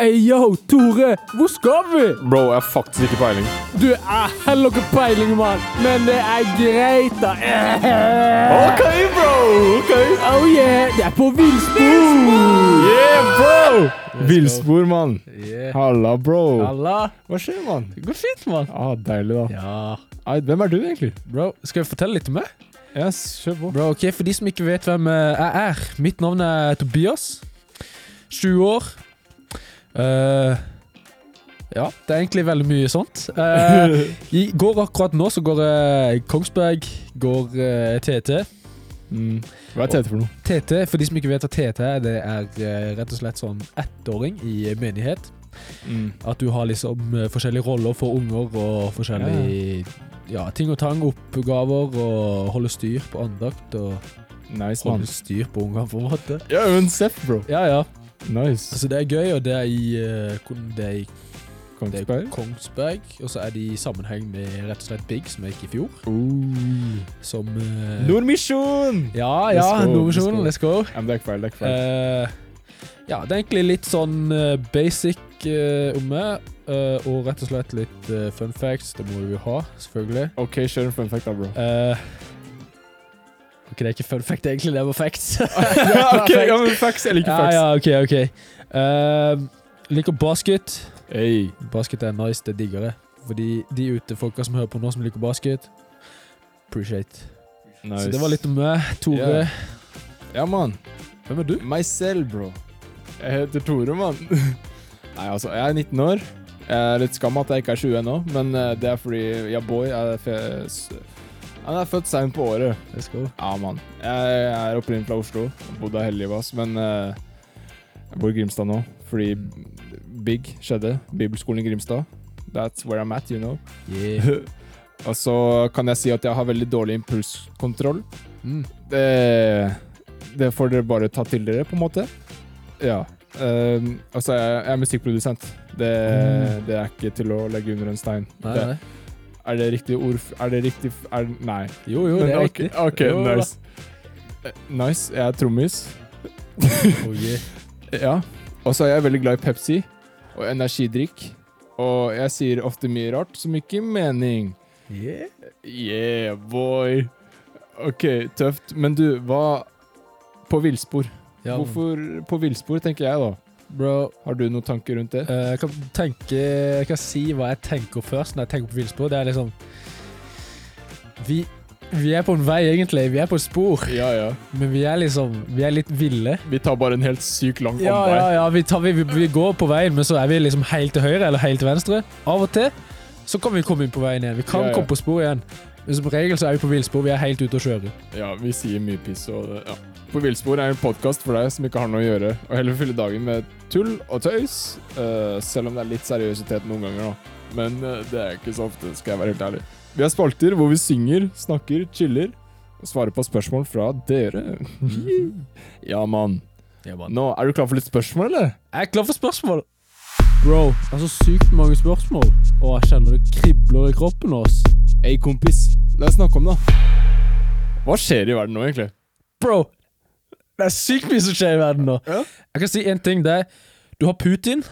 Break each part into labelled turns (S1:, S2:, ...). S1: Hey, yo, Tore, hvor skal vi?
S2: Bro, jeg har faktisk ikke peiling.
S1: Du, jeg har heller ikke peiling, mann. Men det er greit, da.
S2: OK, bro! OK.
S1: Oh yeah, det er på villspor.
S2: Yeah, bro! Villspor, mann.
S3: Yeah.
S2: Halla, bro.
S3: Halla.
S2: Hva skjer, mann?
S3: Det går fint, mann.
S2: Ah, deilig, da.
S3: Ja.
S2: Nei, hvem er du, egentlig?
S3: Bro, skal jeg fortelle litt om meg?
S2: Yes, kjør på.
S3: Bro, ok, For de som ikke vet hvem eh, jeg er Mitt navn er Tobias. 20 år. Eh, ja, det er egentlig veldig mye sånt. Eh, I går akkurat nå så går jeg Kongsberg, går eh, TT.
S2: Mm. Hva er TT for noe?
S3: TT, for de som ikke vet hva TT er, det er eh, rett og slett sånn ettåring i menighet. At du har liksom eh, forskjellige roller for unger og forskjellige ja, ting og tang, oppgaver og holde styr på andakt og
S2: Nice,
S3: holde
S2: mann.
S3: styr på ungene, på en måte.
S2: Ja, UNCF, bro.
S3: Ja, ja.
S2: Nice.
S3: Altså, det er gøy, og det er i, eh, kon- det er i, det er i
S2: Kongsberg.
S3: Kongsberg. Og så er det i sammenheng med rett og slett Big, som jeg gikk i fjor.
S2: Oh.
S3: Som eh,
S2: Nordmisjon!
S3: Ja,
S2: Let's
S3: ja,
S2: go,
S3: Nordvisjonen. Let's go.
S2: Ja, men det er ikke feil. det er ikke feil.
S3: Eh, ja, det er egentlig litt sånn eh, basic eh, om meg. eh, og rett og slett litt eh, fun facts. Det må vi jo ha, selvfølgelig.
S2: OK, kjør en fun fact, da, bro.
S3: Eh, ok, det er ikke fun fact, egentlig. Det var facts.
S2: OK, ja, men facts. Jeg liker
S3: ja,
S2: facts.
S3: ja, ok, ok. Eh, liker basket.
S2: Hey.
S3: Basket er nice, det digger jeg. Fordi de ute folka som hører på nå, som liker basket Appreciate.
S2: Nice.
S3: Så det var litt om meg. Tore.
S2: Ja. Ja, mann.
S3: Hvem er du?
S2: Meg selv, bro. Jeg heter Tore, mann. Nei, altså, jeg er 19 år. Jeg er litt skam at jeg ikke er 20 ennå, men eh, det er fordi ja, boy jeg er, fe- s- Han er født seint på året.
S3: Let's go.
S2: Ja, mann. Jeg er opprinnelig fra Oslo. Jeg Bodde her hele livet, ass. Men eh, jeg bor i Grimstad nå fordi Big skjedde. Bibelskolen i Grimstad. That's where I'm at, you know.
S3: Yeah.
S2: Og så kan jeg si at jeg har veldig dårlig impulskontroll.
S3: Mm.
S2: Det, det får dere bare ta til dere, på en måte. Ja. Um, altså, jeg, jeg er musikkprodusent. Det,
S3: Mm.
S2: det er ikke til å legge under en stein.
S3: Nei,
S2: Det,
S3: nei.
S2: er det riktig ord f- Er det riktig f- er, Nei.
S3: Jo, jo, det er
S2: Men ok-
S3: riktig.
S2: OK,
S3: Jo da.
S2: nice. Eh, Nice. Jeg er trommis.
S3: Oh, yeah.
S2: Ja. Og så er jeg veldig glad i Pepsi og energidrikk. Og jeg sier ofte mye rart som ikke gir mening.
S3: Yeah.
S2: Yeah, boy. OK, tøft. Men du, hva På villspor.
S3: Ja, men-
S2: Hvorfor på villspor, tenker jeg da.
S3: Bro,
S2: Har du noen tanker rundt det?
S3: eh, jeg kan tenke Jeg kan si hva jeg tenker først når jeg tenker på villspor. Det er liksom vi, vi er på en vei, egentlig. Vi er på et spor,
S2: Ja, ja.
S3: men vi er liksom Vi er litt ville.
S2: Vi tar bare en helt syk lang
S3: Ja,
S2: omvei.
S3: ja, ja. Vi, tar, vi, vi, vi går på veien, men så er vi liksom helt til høyre eller helt til venstre. Av og til så kan vi komme inn på veien igjen. Vi kan
S2: Ja, ja.
S3: komme på spor igjen. Men som regel så er vi på villspor. Vi er helt ute å kjøre.
S2: Ja, vi sier mye piss og det- ja. På villspor er en podkast for deg som ikke har noe å gjøre, og heller fylle dagen med tull og tøys. eh, selv om det er litt seriøsitet noen ganger, da. Men eh, det er ikke så ofte, skal jeg være helt ærlig. Vi har spalter hvor vi synger, snakker, chiller og svarer på spørsmål fra dere. Mm. ja, mann. Nå, er du klar for litt spørsmål, eller?
S3: Jeg er klar for spørsmål. Bro, det er så sykt mange spørsmål. Og jeg kjenner det kribler i kroppen ass.
S2: Hei, kompis. La oss snakke om det. Hva skjer i verden nå, egentlig?
S3: Bro, det er sykt mye som skjer i verden nå.
S2: Ja.
S3: Jeg kan si én ting. det er, Du har Putin.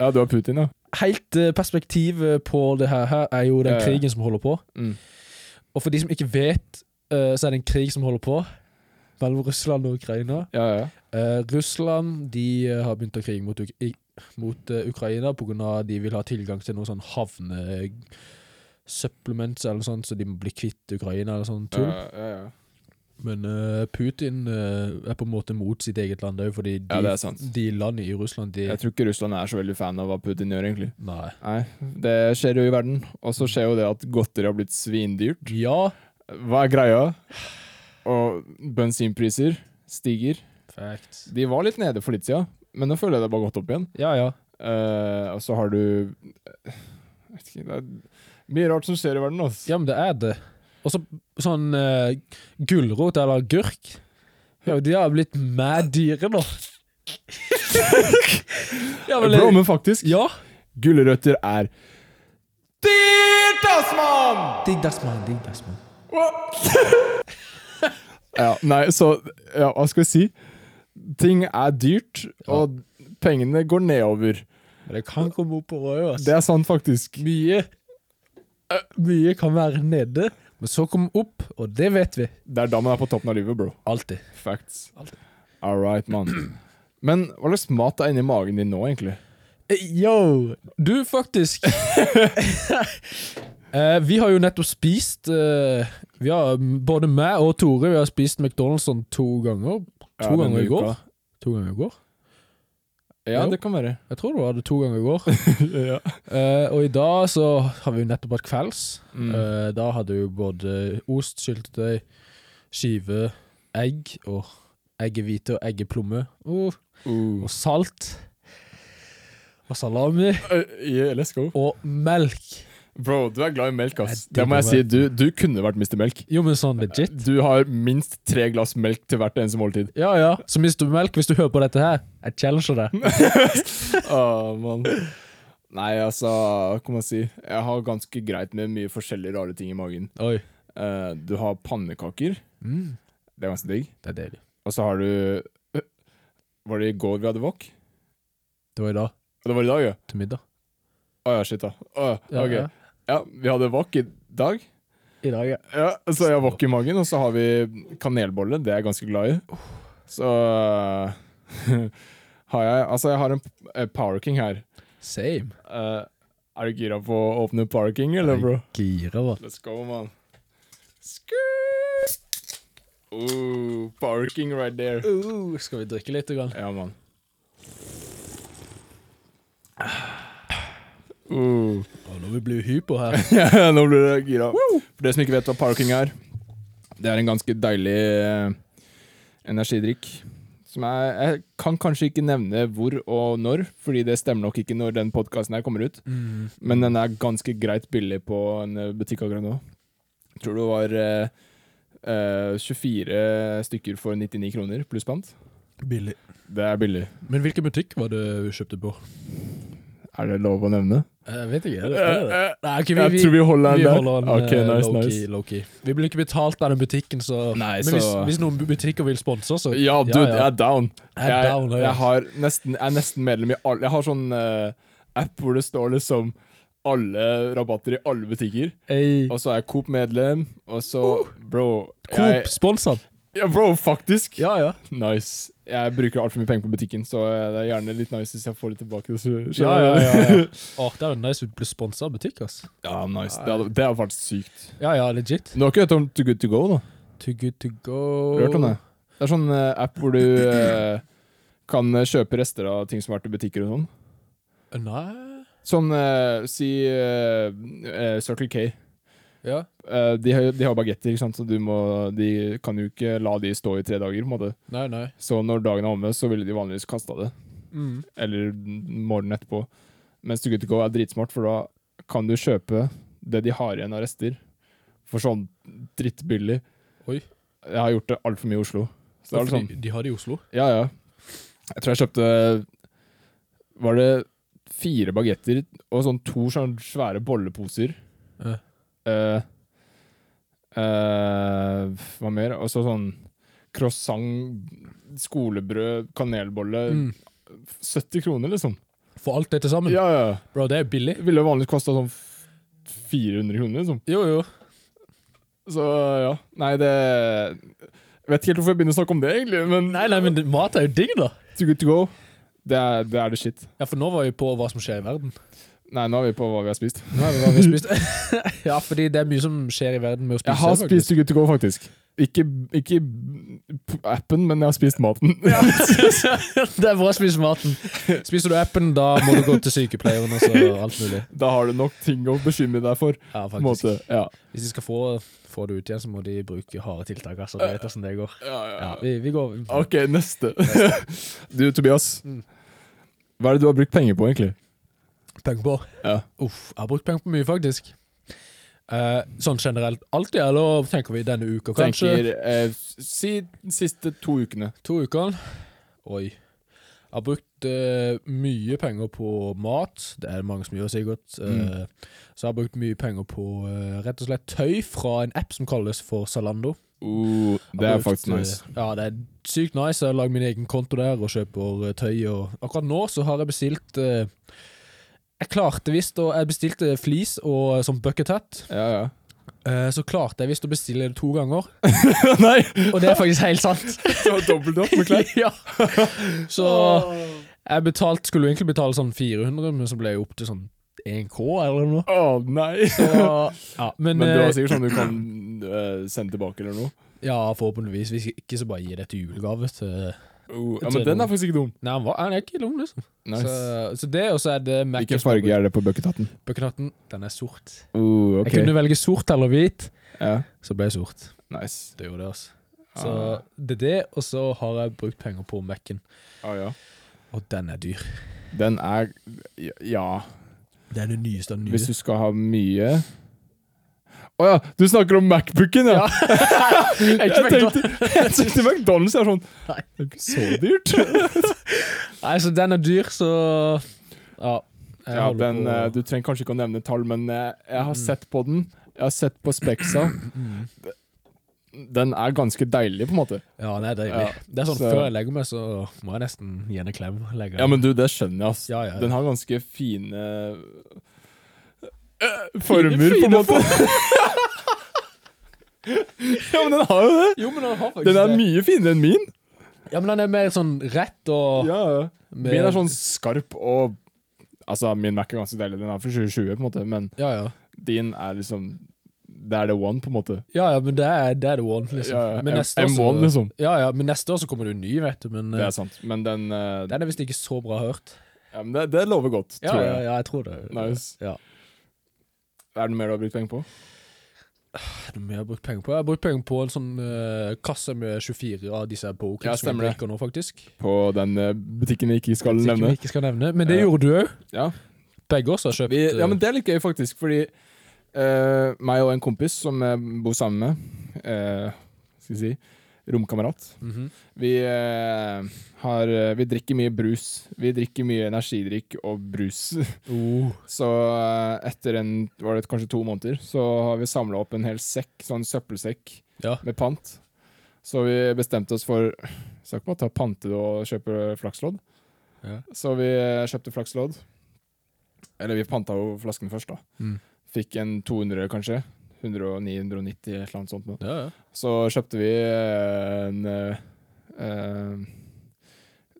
S2: Ja, du har Putin, ja.
S3: Helt eh, perspektivet på det her, her er jo den
S2: Ja, ja.
S3: krigen som holder på.
S2: Mm.
S3: Og for de som ikke vet, eh, så er det en krig som holder på mellom Russland og Ukraina.
S2: Ja, ja.
S3: Eh, Russland de eh, har begynt å krige mot, Uk i- mot eh, Ukraina pga. de vil ha tilgang til noen sånn havnesupplements eller sånt, så de må bli kvitt Ukraina eller sånn tull.
S2: Ja, ja, ja.
S3: Men eh, Putin eh, er på en måte mot sitt eget land òg, fordi de,
S2: Ja, det er sant.
S3: de landene i Russland, de
S2: Jeg tror ikke Russland er så veldig fan av hva Putin gjør, egentlig.
S3: Nei.
S2: Nei, det skjer jo i verden. Og så skjer jo det at godteri har blitt svindyrt.
S3: Ja.
S2: Hva er greia? Og bensinpriser stiger.
S3: Facts.
S2: De var litt nede for litt siden, men nå føler jeg det bare gått opp igjen.
S3: Ja, ja.
S2: Eh, og så har du eh, Jeg vet ikke, det er mye rart som skjer i verden, altså.
S3: Ja, men det er det. Og så sånn uh, gulrot eller agurk. Ja, de har blitt mad dyre nå. ja, men,
S2: Bro, men faktisk,
S3: ja.
S2: gulrøtter er dyrt, ass, mann!
S3: Digg dass man, digg dass man.
S2: Ja, nei, så ja, Hva skal vi si? Ting er dyrt, og pengene går nedover. Men det
S3: Han
S2: kan
S3: kom opp på rød, ass.
S2: Det er sant, faktisk.
S3: Mye øh, Mye kan være nede, men så kom opp, og det vet vi.
S2: Det er da man er på toppen av livet, bro.
S3: Alltid.
S2: Facts.
S3: Alltid.
S2: All right, mann. Men hva slags mat er inni magen din nå, egentlig?
S3: Eh, Yo! Du, faktisk eh, Vi har jo nettopp spist eh, vi har, Både meg og Tore Vi har spist McDonald's sånn to ganger. To
S2: Ja, denne
S3: ganger i går.
S2: uka.
S3: To ganger i går?
S2: Ja,
S3: Jo.
S2: det kan være.
S3: Jeg tror det var det to ganger i går. Eh, og i dag så har vi jo nettopp hatt kvelds.
S2: Mm.
S3: Eh, da hadde vi jo både ost, syltetøy, skive, egg og eggehvite og eggeplomme. Uh,
S2: Uh.
S3: og salt. Og salami.
S2: eh, yeah, let's go.
S3: Og melk.
S2: Bro, du er glad i melk, ass.
S3: Jeg
S2: Det må jeg si.
S3: digger
S2: Du, du kunne vært Mr. Melk.
S3: Jo, men sånn legit.
S2: Du har minst tre glass melk til hvert eneste måltid.
S3: Ja, ja. Så mister du melk hvis du hører på dette her. Jeg challenger deg.
S2: Åh, mann. Nei, altså, hva kan man si? Jeg har ganske greit med mye forskjellige rare ting i magen.
S3: Oi.
S2: Eh, du har pannekaker.
S3: Mm.
S2: Det er ganske digg.
S3: Det er deilig.
S2: Og så har du Øh, Var det i går vi hadde wok?
S3: Det var i dag
S2: Og det var i dag, ja?
S3: til middag.
S2: Å ja, shit, da. Å, ja,
S3: Ja,
S2: ok.
S3: ja.
S2: Ja. vi hadde wok i dag.
S3: I dag, ja.
S2: Ja, så jeg har wok i magen, og så har vi kanelbolle. Det er jeg ganske glad i. Så eh, har jeg Altså, jeg har en eh, Power King her.
S3: Same.
S2: Eh, er du gira på å åpne Power King, eller, bro?
S3: Gira, hva.
S2: Let's go, man. Skuuu! Oh, Power King right there.
S3: Uh, skal vi drikke litt? Grann?
S2: Ja, mann. Uh.
S3: Å, nå blir vi hypo her.
S2: Ja, Nå blir det gira. For dere som ikke vet hva parking er, det er en ganske deilig eh, energidrikk. Som jeg, jeg kan kanskje ikke nevne hvor og når, fordi det stemmer nok ikke når den podkasten her kommer ut.
S3: Mm.
S2: Men den er ganske greit billig på en eh, butikk akkurat nå. Jeg tror det var eh, eh, 24 stykker for 99 kroner pluss pant.
S3: Billig.
S2: Det er billig.
S3: Men hvilken butikk var det vi kjøpte på?
S2: Er det lov å nevne?
S3: Jeg vet ikke. Er det, er det?
S2: Eh, eh,
S3: Nei, ok, vi,
S2: Jeg
S3: vi,
S2: tror vi holder den
S3: vi
S2: der.
S3: holder den
S2: Ok,
S3: eh,
S2: nice,
S3: low-key.
S2: nice.
S3: low-key. vi blir ikke betalt av den butikken, så
S2: Nei,
S3: Men hvis,
S2: så-
S3: hvis noen butikker vil sponse oss, så
S2: Ja, dude,
S3: ja.
S2: jeg er down.
S3: Jeg er
S2: jeg,
S3: down,
S2: jeg,
S3: ja.
S2: har nesten, jeg er nesten medlem i alle Jeg har sånn eh, app hvor det står liksom alle rabatter i alle butikker.
S3: Ey,
S2: Og så er jeg Coop-medlem, og så Bro. Jeg,
S3: Coop, spons han!
S2: ja, bro, faktisk!
S3: Ja, ja.
S2: Nice. Jeg bruker altfor mye penger på butikken, så eh, det er gjerne litt nice hvis jeg får det tilbake. Så,
S3: ja, ja, ja, ja. Åh, det er jo nice å bli sponsa av butikk, ass.
S2: Ja, nice. Det hadde- det hadde vært sykt.
S3: Ja, ja, legit.
S2: Du har ikke hørt om Too Good To Go, da?
S3: Too good to go.
S2: Har du hørt om det? Det er sånn eh, app hvor du eh, kan eh, kjøpe rester av ting som har vært i butikker og sånn.
S3: Eh, Nei
S2: Sånn, eh, si eh, eh, Circle K.
S3: Ja.
S2: Eh, de, har- de har bagetter, ikke sant? så du må, de kan jo ikke la de stå i tre dager. på en måte.
S3: Nei, nei.
S2: Så når dagen er omme, så ville de vanligvis kasta det.
S3: Mm.
S2: Eller morgenen etterpå. Mens Too Good To Go er dritsmart, for da kan du kjøpe det de har igjen av rester. For sånn drittbillig.
S3: Oi.
S2: Jeg har gjort det altfor mye i Oslo. Så da er det sånn.
S3: de, de har det i Oslo.
S2: Ja, ja. Jeg tror jeg kjøpte Var det fire bagetter og sånn to sånn svære bolleposer.
S3: Ja.
S2: Eh, eh, hva mer? Og så sånn croissant, skolebrød, kanelbolle.
S3: Mm.
S2: 70 kroner, liksom.
S3: For alt det til sammen.
S2: Ja, ja.
S3: Bro, det er billig.
S2: Det ville vanligvis kosta sånn f- 400 kroner, liksom.
S3: Jo, jo.
S2: Så ja. Nei, det Jeg vet ikke helt hvorfor jeg begynner å snakke om det, egentlig, men
S3: Nei, nei, men det- mat er jo digg, da.
S2: Too good to go. Det er det, er det shit.
S3: Ja, for nå var vi på hva som skjer i verden.
S2: Nei, nå er vi på hva vi har spist.
S3: Nei, men hva har vi spist? ja, fordi det er mye som skjer i verden med å spise.
S2: Jeg har
S3: faktisk.
S2: spist Too Good To Go, faktisk. Ikke, ikke p- appen, men jeg har spist maten.
S3: det er bra å spise maten. Spiser du appen, da må du gå til sykepleieren og så alt mulig.
S2: da har du nok ting å bekymre deg for.
S3: Ja,
S2: På en
S3: faktisk.
S2: måte. Ja.
S3: Hvis de skal få, få det ut igjen, så må de bruke harde tiltak. Altså, du vet hvordan det går. Ja, vi, vi går
S2: Ok, neste. Mm. du, Tobias. Hva er det du har brukt penger på, egentlig?
S3: Penger på.
S2: Ja.
S3: Uff, jeg har brukt penger på mye, faktisk. Eh, sånn generelt. Alltid, eller tenker vi denne uka, kanskje?
S2: Tenker, eh, si de siste to ukene.
S3: To uker. Oi. Jeg har brukt eh, mye penger på mat. Det er det mange som gjør, sikkert. Eh,
S2: Mm.
S3: Så jeg har brukt mye penger på eh, rett og slett tøy fra en app som kalles for Zalando. Jeg
S2: Uh, det
S3: har
S2: er
S3: brukt,
S2: faktisk
S3: eh,
S2: nice.
S3: Ja, det er sykt nice. Jeg har lagd min egen konto der og kjøper eh, tøy. Og akkurat nå så har jeg bestilt eh, Jeg klarte visst, og jeg bestilte flis og sånn bucket hat.
S2: Ja, ja.
S3: Eh, så klarte jeg visst å bestille det to ganger,
S2: Nei,
S3: og det er faktisk helt sant.
S2: så dobbelt opp med klær.
S3: ja. Så jeg betalt, skulle jo egentlig betale sånn 400, men så ble jeg opp til sånn 1K eller noe.
S2: Å, nei.
S3: Så, ja, men,
S2: Men du
S3: eh,
S2: har sikkert sånn du kan eh, sende tilbake eller noe.
S3: ja, forhåpentligvis. Hvis ikke så bare gir jeg til julegave til
S2: Oh, ja, men den er faktisk ikke dum.
S3: Nei, han, var, han er ikke dum, liksom.
S2: Nice.
S3: Så, så det, og så er det Mac
S2: Hvilken farge er det på buckethatten?
S3: Buckethatten. Den er sort.
S2: Oh,
S3: Jeg kunne velge sort eller hvit,
S2: Ja,
S3: så ble jeg sort.
S2: nice.
S3: Det gjorde det, altså.
S2: Ah.
S3: Så det er det, og så har jeg brukt penger på Mac-en.
S2: Ah, ja.
S3: Og den er dyr.
S2: Den er Ja.
S3: Det er det nyeste av det
S2: Hvis
S3: nye.
S2: du skal ha mye Å ja, du snakker om Macbooken, ja!
S3: Jeg
S2: Jeg
S3: tenkte-
S2: tenkte, jeg tenkte McDonald's er sånn
S3: Nei.
S2: Det er ikke så dyrt.
S3: Nei, så den er dyr, så Ja. jeg
S2: Ja,
S3: holder
S2: den,
S3: på- Mm.
S2: eh, du trenger kanskje ikke å nevne tall, men eh, jeg har sett på den. Jeg har sett på Spexa.
S3: Mm.
S2: Den er ganske deilig, på en måte.
S3: Ja, den er deilig.
S2: Ja,
S3: det er sånn
S2: så-
S3: Før jeg legger meg, så må jeg nesten gi den en klem. Legge.
S2: Ja, men du, det skjønner jeg, ass.
S3: ja, ja, ja.
S2: Den har ganske fine eh, former, på en måte. ja, men den har jo det!
S3: Jo, men den har faktisk
S2: Den er mye finere enn min.
S3: Ja, men den er mer sånn rett og
S2: Ja, ja.
S3: med-
S2: Min er sånn skarp og Altså, min Mac er ganske deilig. Den er fra 2020, på en måte, men
S3: Ja, ja.
S2: din er liksom Det er the one, på en måte.
S3: Ja, ja, men det er, det er the one, liksom.
S2: Ja, ja.
S3: Men
S2: M-
S3: neste år så-
S2: M1, liksom.
S3: Ja, ja, men neste år så kommer det jo en ny, vet du. Men
S2: Det
S3: eh,
S2: er sant. Men den eh,
S3: den er visst ikke så bra hørt.
S2: ja, men det, det lover godt,
S3: Ja,
S2: tror
S3: ja,
S2: jeg.
S3: ja, jeg tror det.
S2: Nice.
S3: Ja.
S2: Er det noe mer du har brukt penger på?
S3: Det er noe mer jeg har brukt penger på. Jeg har brukt penger på en sånn eh, kasse med 24 av disse
S2: Ja,
S3: pokerne som
S2: stemmer
S3: jeg
S2: det.
S3: drikker nå, faktisk.
S2: På den eh, butikken vi ikke skal
S3: Som
S2: nevne?
S3: vi ikke skal nevne. Men det
S2: Ja.
S3: gjorde du òg.
S2: Ja.
S3: Begge oss har kjøpt
S2: Vi, ja,
S3: eh,
S2: men det er litt gøy, faktisk, fordi eh, meg og en kompis som jeg bor sammen med eh, Skal vi si romkamerat.
S3: mhm.
S2: Vi, eh, har, eh, vi drikker mye brus. Vi drikker mye energidrikk og brus.
S3: oh.
S2: Så eh, etter en, var det kanskje to måneder så har vi samla opp en hel sekk, sånn søppelsekk
S3: Ja.
S2: med pant. Så vi bestemte oss for Skal ikke bare ta pante og kjøpe flakslodd.
S3: Ja.
S2: Så vi eh, kjøpte flakslodd. Eller vi panta jo flasken først, da.
S3: Mm.
S2: Fikk en 200, kanskje. 109, 190, et eller annet sånt. nå.
S3: Ja, ja.
S2: Så kjøpte vi eh, en eh, eh,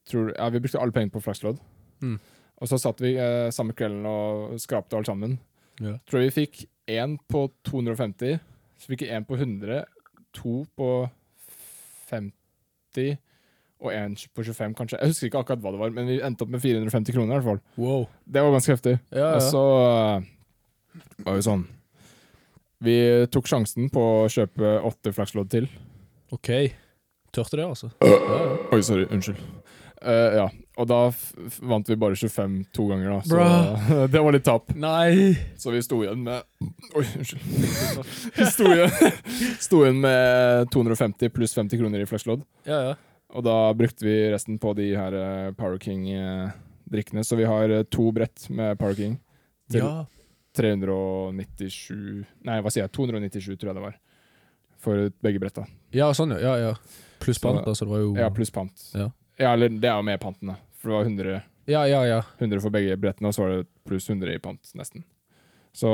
S2: tror, Ja, vi brukte alle pengene på flakslodd.
S3: Mm.
S2: Og så satt vi eh, samme kvelden og skrapte alt sammen.
S3: Ja.
S2: Tror vi fikk én på 250, så fikk vi én på 100, to på 50 og én på 25, kanskje. Jeg husker ikke akkurat hva det var, men vi endte opp med 450 kroner. i hvert fall.
S3: Wow. Altså,
S2: Det var ganske heftig.
S3: Ja, ja.
S2: Og så eh, var jo sånn Vi tok sjansen på å kjøpe åtte flakslodd til.
S3: OK. Tørte det, altså. Ja, ja.
S2: Oi, sorry. Unnskyld. Eh, ja. Og da f f vant vi bare 25 to ganger, da. Så det var litt tap.
S3: Nei!
S2: Så vi sto igjen med Oi, unnskyld. Vi sto igjen, sto igjen med 250 pluss 50 kroner i flakslodd.
S3: Ja, ja.
S2: Og da brukte vi resten på de her eh, Power King-drikkene. Så vi har eh, to brett med Power King. Til
S3: ja.
S2: 397 Nei, hva sier jeg? 297, tror jeg det var. For begge bretta.
S3: Ja, sånn, ja. ja, ja. Pluss
S2: Så-
S3: pant, da, så det var jo
S2: Sånn, Ja, pluss pant.
S3: Ja.
S2: Ja, eller det er jo med panten, da. For det var 100
S3: ja, ja, ja.
S2: 100 for begge brettene, og så var det pluss 100 i pant, nesten. Så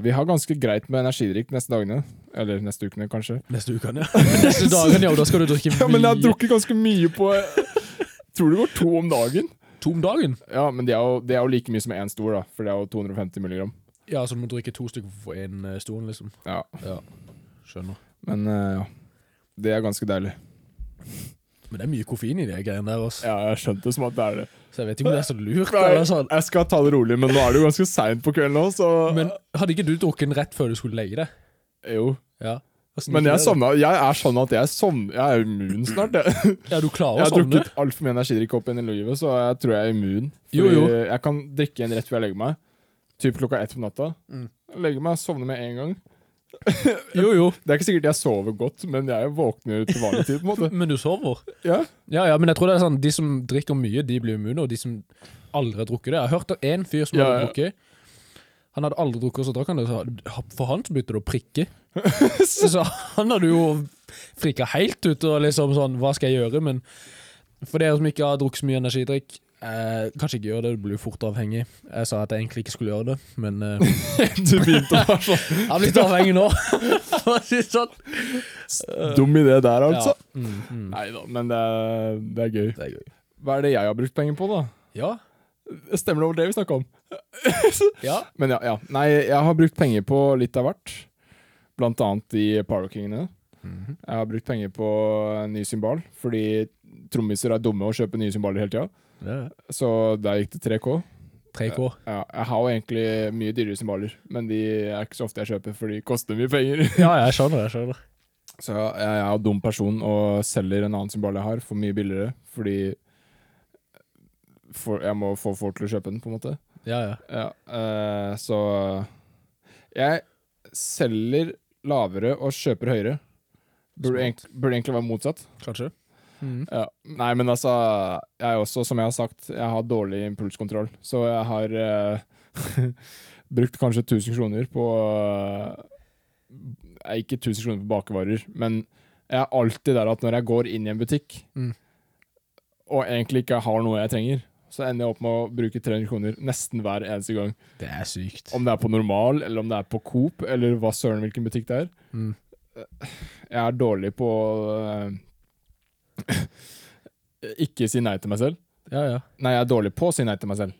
S2: vi har ganske greit med energidrikk neste dagene. Eller neste ukene, kanskje.
S3: Neste uke, ja. Neste dagen, ja. og Da skal du drikke
S2: Ja, men jeg har
S3: mye.
S2: drukket ganske mye på Tror det går to om dagen.
S3: To om dagen?
S2: Ja, men det er jo, det er jo like mye som én stor, da. For det er jo 250 milligram.
S3: Ja, så du må drikke to stykker for én stol, liksom.
S2: Ja,
S3: Skjønner.
S2: Men eh, ja. Det er ganske deilig.
S3: Men det er mye koffein i de greiene der, altså.
S2: Ja, jeg skjønte det som at det er det.
S3: Så jeg vet ikke om det er så lurt.
S2: Nei,
S3: Eller sånn.
S2: jeg skal ta det rolig, men nå er det jo ganske seint på kvelden òg, så
S3: Men hadde ikke du drukket den rett før du skulle legge deg?
S2: Jo.
S3: Ja. Hvordan
S2: Men
S3: gikk
S2: jeg
S3: det, da?
S2: sovna. Jeg er sånn at jeg sovner Jeg er immun snart, jeg.
S3: Ja, du klarer å
S2: Jeg har
S3: sovne?
S2: drukket altfor mye energidrikk opp igjen i livet, så jeg tror jeg er immun. Fordi
S3: Jo, jo.
S2: Jeg kan drikke en rett før jeg legger meg, typ klokka ett på natta.
S3: Mm.
S2: Legger meg, sovner med en gang.
S3: Jo, jo.
S2: Det er ikke sikkert jeg sover godt, men jeg våkner til vanlig tid. på en måte
S3: Men du sover?
S2: Ja,
S3: Ja, ja, men jeg tror det er sånn De som drikker mye, de blir immune, og de som aldri har drukket det Jeg har hørt om en fyr som
S2: Ja,
S3: hadde
S2: ja.
S3: drukket. Han hadde aldri drukket, og så drakk han det. Så for han så begynte det å prikke. Så han hadde jo frika helt ut og liksom sånn Hva skal jeg gjøre? Men for dere som ikke har drukket så mye energidrikk, eh, Kanskje ikke gjør det, du blir jo fort avhengig. Jeg sa at jeg egentlig ikke skulle gjøre det, men eh,
S2: Du begynte å være sånn
S3: jeg har blitt avhengig nå. For å si det sånn.
S2: dum idé der,
S3: Ja.
S2: altså.
S3: Mm, mm.
S2: Nei da, men det er, det er gøy.
S3: Det er gøy.
S2: Hva er det jeg har brukt penger på, da?
S3: Ja.
S2: Stemmer det over det vi snakka om?
S3: ja.
S2: Men ja, ja. Nei, jeg har brukt penger på litt av hvert. Blant annet de Parokingene. Jeg har brukt penger på en ny symbal, fordi trommiser er dumme og kjøper nye symbaler hele tida.
S3: Det er
S2: Så der gikk det 3K.
S3: 3K.
S2: Ja, jeg har jo egentlig mye dyrere symbaler, men de er ikke så ofte jeg kjøper, for de koster mye penger.
S3: Ja, jeg skjønner det. jeg skjønner
S2: Så jeg jeg er jo dum person og selger en annen symbal jeg har, for mye billigere, fordi for, jeg må få folk til å kjøpe den, på en måte.
S3: Ja, ja.
S2: Ja, eh, så Jeg selger lavere og kjøper høyere. Burde,
S3: Smart.
S2: egentlig- burde egentlig være motsatt.
S3: Kanskje. Mm.
S2: Ja. Nei, men altså Jeg er også, som jeg har sagt, jeg har dårlig impulskontroll. Så jeg har eh, brukt kanskje 1000 kroner på eh, Ikke 1000 kroner på bakevarer, men jeg er alltid der at når jeg går inn i en butikk
S3: Mm.
S2: og egentlig ikke har noe jeg trenger, så ender jeg opp med å bruke 300 kroner nesten hver eneste gang.
S3: Det er sykt.
S2: Om det er på Normal, eller om det er på Coop, eller hva søren hvilken butikk det er. Eh,
S3: Mm.
S2: Jeg er dårlig på eh, Ikke si nei til meg selv.
S3: Ja, ja.
S2: Nei, jeg er dårlig på å si nei til meg selv.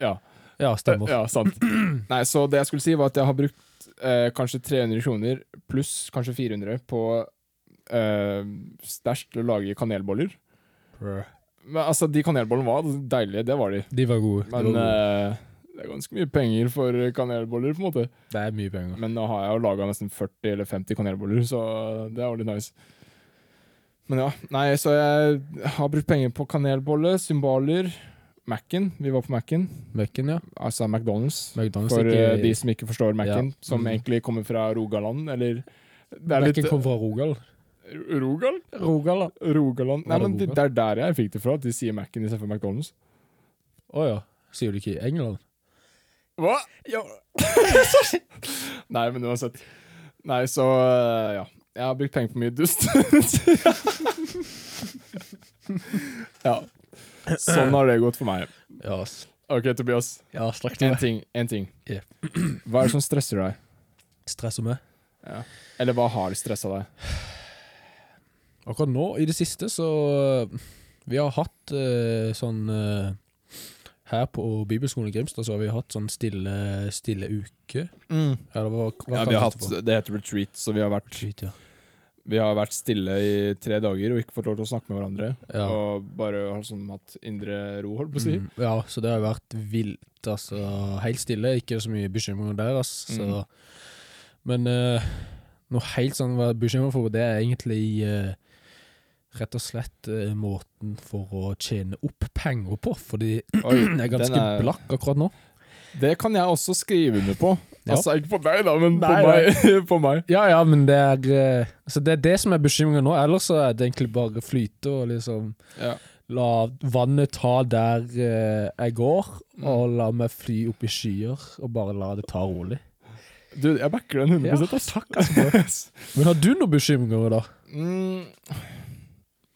S2: Ja,
S3: Ja, stemmer.
S2: ja sant. Nei, så det jeg skulle si, var at jeg har brukt eh, kanskje 300 kroner pluss kanskje 400 på eh, stæsj til å lage kanelboller.
S3: Brr.
S2: Men altså, de kanelbollene var deilige, det var de.
S3: De var gode. De
S2: Men
S3: var gode.
S2: eh, det er ganske mye penger for kanelboller, på en måte.
S3: det er mye penger.
S2: Men nå har jeg jo laga nesten 40 eller 50 kanelboller, så det er jo litt nice. Men ja. Nei, så jeg har brukt penger på kanelbolle, cymbaler, Mac-en. Vi var på Mac-en,
S3: Mekken, ja.
S2: altså McDonald's.
S3: McDonald's
S2: For
S3: ikke,
S2: eh, de som ikke forstår Mac-en,
S3: Ja.
S2: som
S3: Mm.
S2: egentlig kommer fra Rogaland, eller Det er
S3: Mekken
S2: litt
S3: kom fra Rogal.
S2: Rogal?
S3: Rogal, da.
S2: Rogaland Nei,
S3: Var det
S2: men det, det
S3: Rogal?
S2: er der jeg fikk det fra, at de sier Mac-en istedenfor McDonald's.
S3: Å ja. Sier du ikke i England?
S2: Hva? Ja. Nei, men uansett. Nei, så eh, ja. Jeg har brukt penger på mye dust. ja. Sånn har det gått for meg.
S3: Ja, ass.
S2: OK, Tobias.
S3: Ja, snakk til
S2: En
S3: meg.
S2: ting. En ting.
S3: Ja.
S2: Hva er det som stresser deg?
S3: Stresser meg.
S2: Eller hva har stressa deg?
S3: Akkurat nå, i det siste, så øh, Vi har hatt øh, sånn øh, Her på Bibelskolen i Grimstad så har vi hatt sånn stille, stille uke. Eller hva, Mm. hva
S2: Ja,
S3: kalles
S2: vi har
S3: det
S2: hatt,
S3: for?
S2: det heter retreat, så vi har, vært,
S3: Shit, ja.
S2: vi har vært stille i tre dager og ikke fått lov til å snakke med hverandre.
S3: Ja.
S2: Og bare har sånn hatt indre ro, holdt på å si.
S3: Mm, ja, så det har vært vilt, altså. Helt stille, ikke så mye bekymringer der, altså.
S2: Mm.
S3: Så. Men eh, noe helt sånn å være bekymret for, det er egentlig eh, rett og slett eh, måten for å tjene opp penger på, fordi
S2: Oi,
S3: jeg er ganske
S2: den er-
S3: blakk akkurat nå.
S2: Det kan jeg også skrive under på.
S3: Ja.
S2: Altså, ikke på deg, da, men
S3: Nei,
S2: på, meg. på meg.
S3: Ja, ja, men det er eh, Så det er det som er bekymringen nå. Ellers så er det egentlig bare flyte og liksom
S2: Ja.
S3: La vannet ta der eh, jeg går,
S2: Mm.
S3: og la meg fly opp i skyer, og bare la det ta rolig.
S2: Du, jeg backer den 100
S3: altså,
S2: ass.
S3: Men har du noen bekymringer, da?
S2: Mm.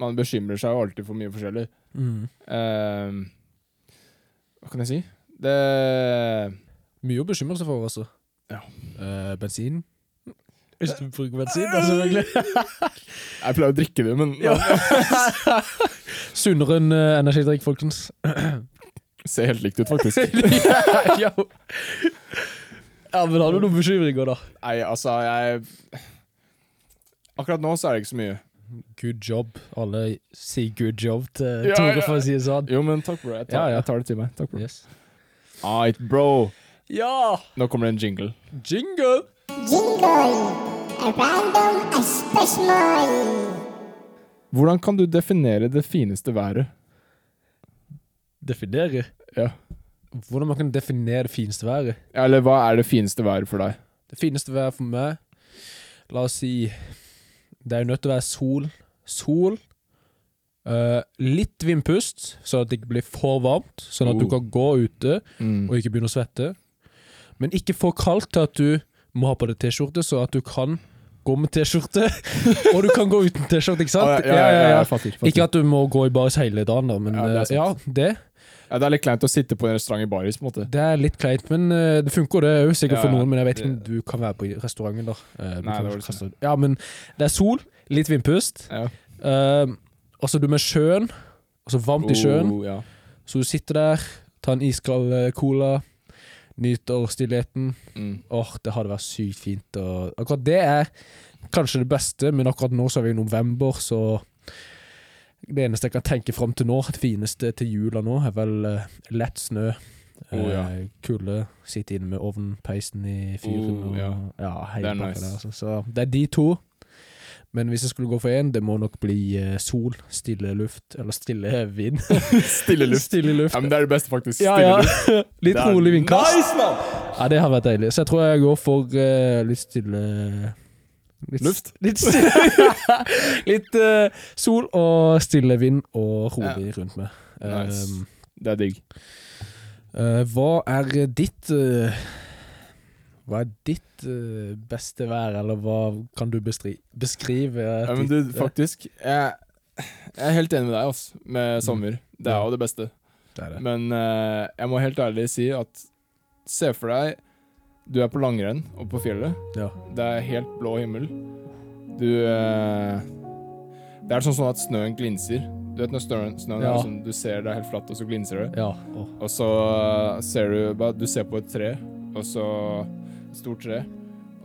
S2: Man bekymrer seg jo alltid for mye forskjellig.
S3: Mm.
S2: Ehm, hva kan jeg si? Det
S3: Mye å bekymre seg for, altså.
S2: Ja.
S3: Eh, bensin? Eh. Hvis du bruker bensin, altså, da, selvfølgelig.
S2: Jeg pleier å drikke det, men
S3: Sunnere enn eh, energidrikk, folkens.
S2: ser helt likt ut, faktisk.
S3: ja, men har du noen bekymringer, da?
S2: Nei, altså, jeg Akkurat nå så er det ikke så mye.
S3: Good job. Alle sier good job til
S2: Ja,
S3: Tore,
S2: ja.
S3: for å si det sånn.
S2: Jo, men takk, bro. Jeg tar,
S3: Ja, ja.
S2: Jeg tar det til meg. Takk, bro.
S3: Yes.
S2: Alright, bro.
S3: Ja!
S2: Nå kommer det en jingle.
S3: Jingle!
S4: Jingle, a random spørsmål.
S2: Hvordan kan du definere det fineste været?
S3: Definere.
S2: Ja.
S3: Hvordan man kan definere det fineste været.
S2: Eller hva er det fineste været for deg?
S3: Det fineste været for meg La oss si Det er jo nødt til å være sol. Sol. eh, litt vindpust, sånn at det ikke blir for varmt. Sånn at du
S2: Oh. Mm.
S3: kan gå ute og ikke begynne å svette. Men ikke for kaldt til at du må ha på deg T-skjorte, så at du kan gå med T-skjorte. og du kan gå uten T-skjorte, ikke sant?
S2: Å, ja, ja, ja, ja, jeg fatter, fatter.
S3: Ikke at du må gå i baris hele dagen, da, men
S2: Ja, det er
S3: eh, ja, det.
S2: Ja, det er litt kleint å sitte på en restaurant i baris, på en måte.
S3: Det er litt kleint, men eh, det funker det er jo sikkert
S2: Ja,
S3: for
S2: ja.
S3: noen. Men jeg vet ikke om
S2: Det-
S3: du kan være på restauranten der. Eh, du
S2: Nei,
S3: kan
S2: det var
S3: ikke
S2: liksom-
S3: restaurant- Ja, men det er sol, litt vindpust,
S2: Ja.
S3: eh, og så er du med sjøen. Altså varmt i sjøen.
S2: Oh, ja.
S3: Så du sitter der, tar en iskald eh, cola, nyter stillheten.
S2: mm.
S3: Åh, det hadde vært sykt fint. Og akkurat det er kanskje det beste, men akkurat nå så er vi i november, så Det eneste jeg kan tenke fram til nå, det fineste til jula nå, er vel eh, lett snø.
S2: Oh, ja.
S3: eh, Kulde. Sitte inne med ovnen, peisen i fyren.
S2: Oh,
S3: og, ja.
S2: ja.
S3: hele
S2: Det er
S3: pakka
S2: nice.
S3: der, altså. Så det er de to. Men hvis jeg skulle gå for én, det må nok bli eh, sol, stille luft, eller stille vind.
S2: Stille luft.
S3: stille luft.
S2: Ja, men det er det beste, faktisk.
S3: Ja,
S2: Stille
S3: ja.
S2: luft.
S3: Litt
S2: Det er
S3: rolig vindkast.
S2: Nice, man!
S3: Ja, det har vært deilig. Så jeg tror jeg går for eh, litt stille litt,
S2: Luft?
S3: Litt, stille, litt eh, sol og stille vind og rolig rundt meg. Um,
S2: Nice. Det er digg.
S3: eh, hva er ditt eh, Hva er ditt eh, beste vær, eller hva kan du bestri beskrive? eh?
S2: Ja, men du, faktisk, jeg, jeg er helt enig med deg, altså,
S3: Mm.
S2: med sommer. Det er jo det beste.
S3: det er det.
S2: Men eh, jeg må helt ærlig si at se for deg Du er på langrenn og på fjellet.
S3: Ja.
S2: Det er helt blå himmel. Du eh, Det er sånn, sånn at snøen glinser. Du vet når snøen, snøen
S3: Ja.
S2: er sånn, du ser det er helt flatt, og så glinser det.
S3: Ja. Åh.
S2: Og så eh, ser du bare Du ser på et tre, og så et Stort tre.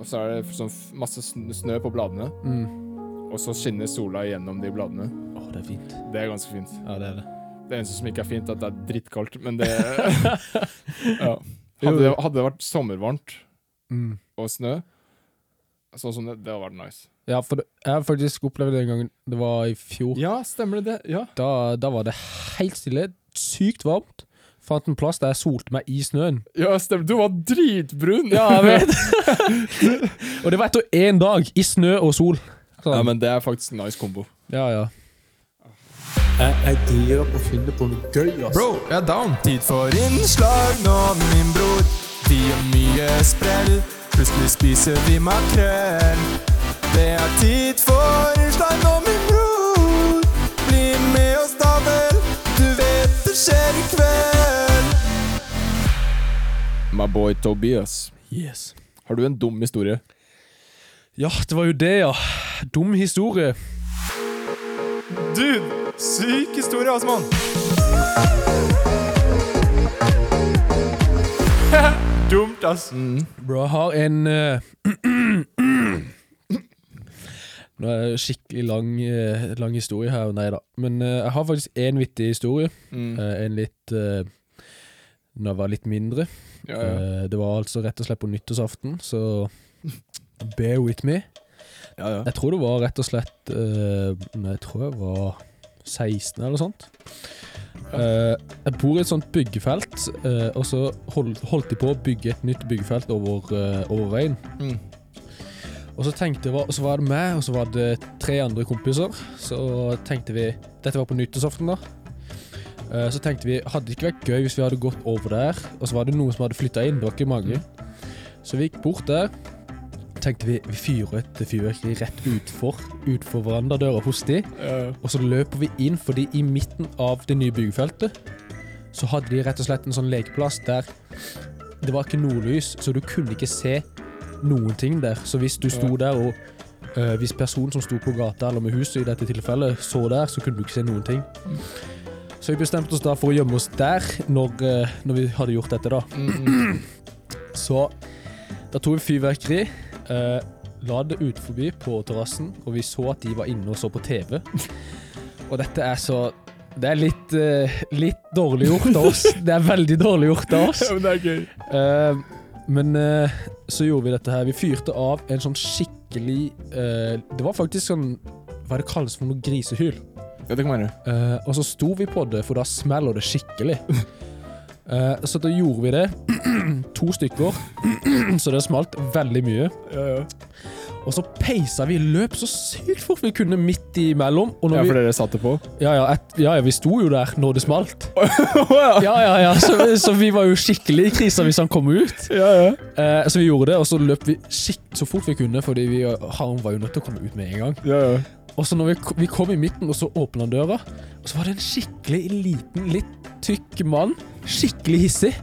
S2: Og så er det sånn f- masse sn- snø på bladene,
S3: Mm.
S2: og så skinner sola gjennom de bladene.
S3: Åh, det er fint.
S2: Det er ganske fint.
S3: Ja, det er det.
S2: Det eneste som ikke er fint, er at det er drittkaldt, men det ja.
S3: Jo,
S2: hadde, det,
S3: jo.
S2: hadde det vært sommervarmt
S3: Mm.
S2: og snø, sånn som det, det hadde vært nice.
S3: Ja, for det, jeg har faktisk opplevd det en gang. Det var i fjor.
S2: Ja, stemmer det. det. Ja.
S3: da, da var det helt stille, sykt varmt. Fant en plass der jeg solte meg i snøen.
S2: ja, stemmer. Du var dritbrun!
S3: vet Og det var etter én dag, i snø og sol. Sånn.
S2: Ja, men det er faktisk en nice kombo.
S3: ja, ja.
S1: Jeg, jeg driver opp og finner på noe gøy, ass.
S5: Bro, jeg er down. Tid for innslag nå, min bror. De gjør mye sprell. Plutselig spiser vi makrell. Det er tid for innslag nå, min bror. Bli med oss da vel. Du vet det skjer i kveld.
S2: My boy Tobias.
S3: Yes.
S2: Har du en dum historie?
S3: Ja, det var jo det, ja. Dum historie.
S5: Dude, syk historie, altså, Asman. Dumt, ass.
S2: Mm.
S3: Bro, jeg har en eh, Nå er det skikkelig lang, eh, lang historie her, nei da. Men eh, jeg har faktisk én vittig historie.
S2: Mm.
S3: Eh, en litt uh, Når jeg var litt mindre.
S2: Ja, ja.
S3: Eh, Det var altså rett og slett på nyttårsaften, så bear with me.
S2: ja, ja.
S3: Jeg tror det var rett og slett eh, Nei, jeg tror jeg var 16 eller noe sånt. Eh, jeg bor i et sånt byggefelt, eh, og så hold, holdt de på å bygge et nytt byggefelt over, eh, over veien.
S2: Mm.
S3: Og så tenkte hva- så var det meg, og så var det tre andre kompiser. Så tenkte vi Dette var på nyttårsaften, da. Eh, så tenkte vi Hadde det ikke vært gøy hvis vi hadde gått over der, og så var det noen som hadde flytta inn? Det var ikke mange. Så vi gikk bort der. Tenkte vi vi fyrer et fyrverkeri rett utfor, utfor verandadøra hos de. Og så løper vi inn, fordi i midten av det nye byggefeltet så hadde de rett og slett en sånn lekeplass der det var ikke nordlys, så du kunne ikke se noen ting der. Så hvis du sto der og øh, hvis personen som sto på gata eller med huset i dette tilfellet, så der, så kunne du ikke se noen ting. Så vi bestemte oss da for å gjemme oss der når, øh, når vi hadde gjort dette, da.
S2: Mm.
S3: Så da tok vi fyrverkeri, eh, la det ut forbi på terrassen, og vi så at de var inne og så på TV. Og dette er så Det er litt, eh, litt dårlig gjort av oss. Det er veldig dårlig gjort av oss.
S2: Ja, men det er gøy.
S3: Eh, men eh, så gjorde vi dette her. Vi fyrte av en sånn skikkelig eh, Det var faktisk sånn Hva er det kalles for noe grisehyl?
S2: Ja, det kan være.
S3: Eh, og så sto vi på det, for da smeller det skikkelig. Eh, så da gjorde vi det. to stykker. så det smalt veldig mye. Og så peisa vi løp så sykt fort vi kunne midt imellom. Og når
S2: Ja,
S3: vi,
S2: for dere satt det på?
S3: ja, ja, et, ja, ja, vi sto jo der når det smalt. ja, ja, ja, så, så vi var jo skikkelig i krisa hvis han kom ut. Eh, så vi gjorde det, og så løp vi skikk så fort vi kunne, fordi vi, han var jo nødt til å komme ut med en gang.
S2: Ja, ja.
S3: Og så når vi, ko- vi kom i midten, og så åpna han døra, og så var det en skikkelig liten, litt tykk mann. Skikkelig hissig.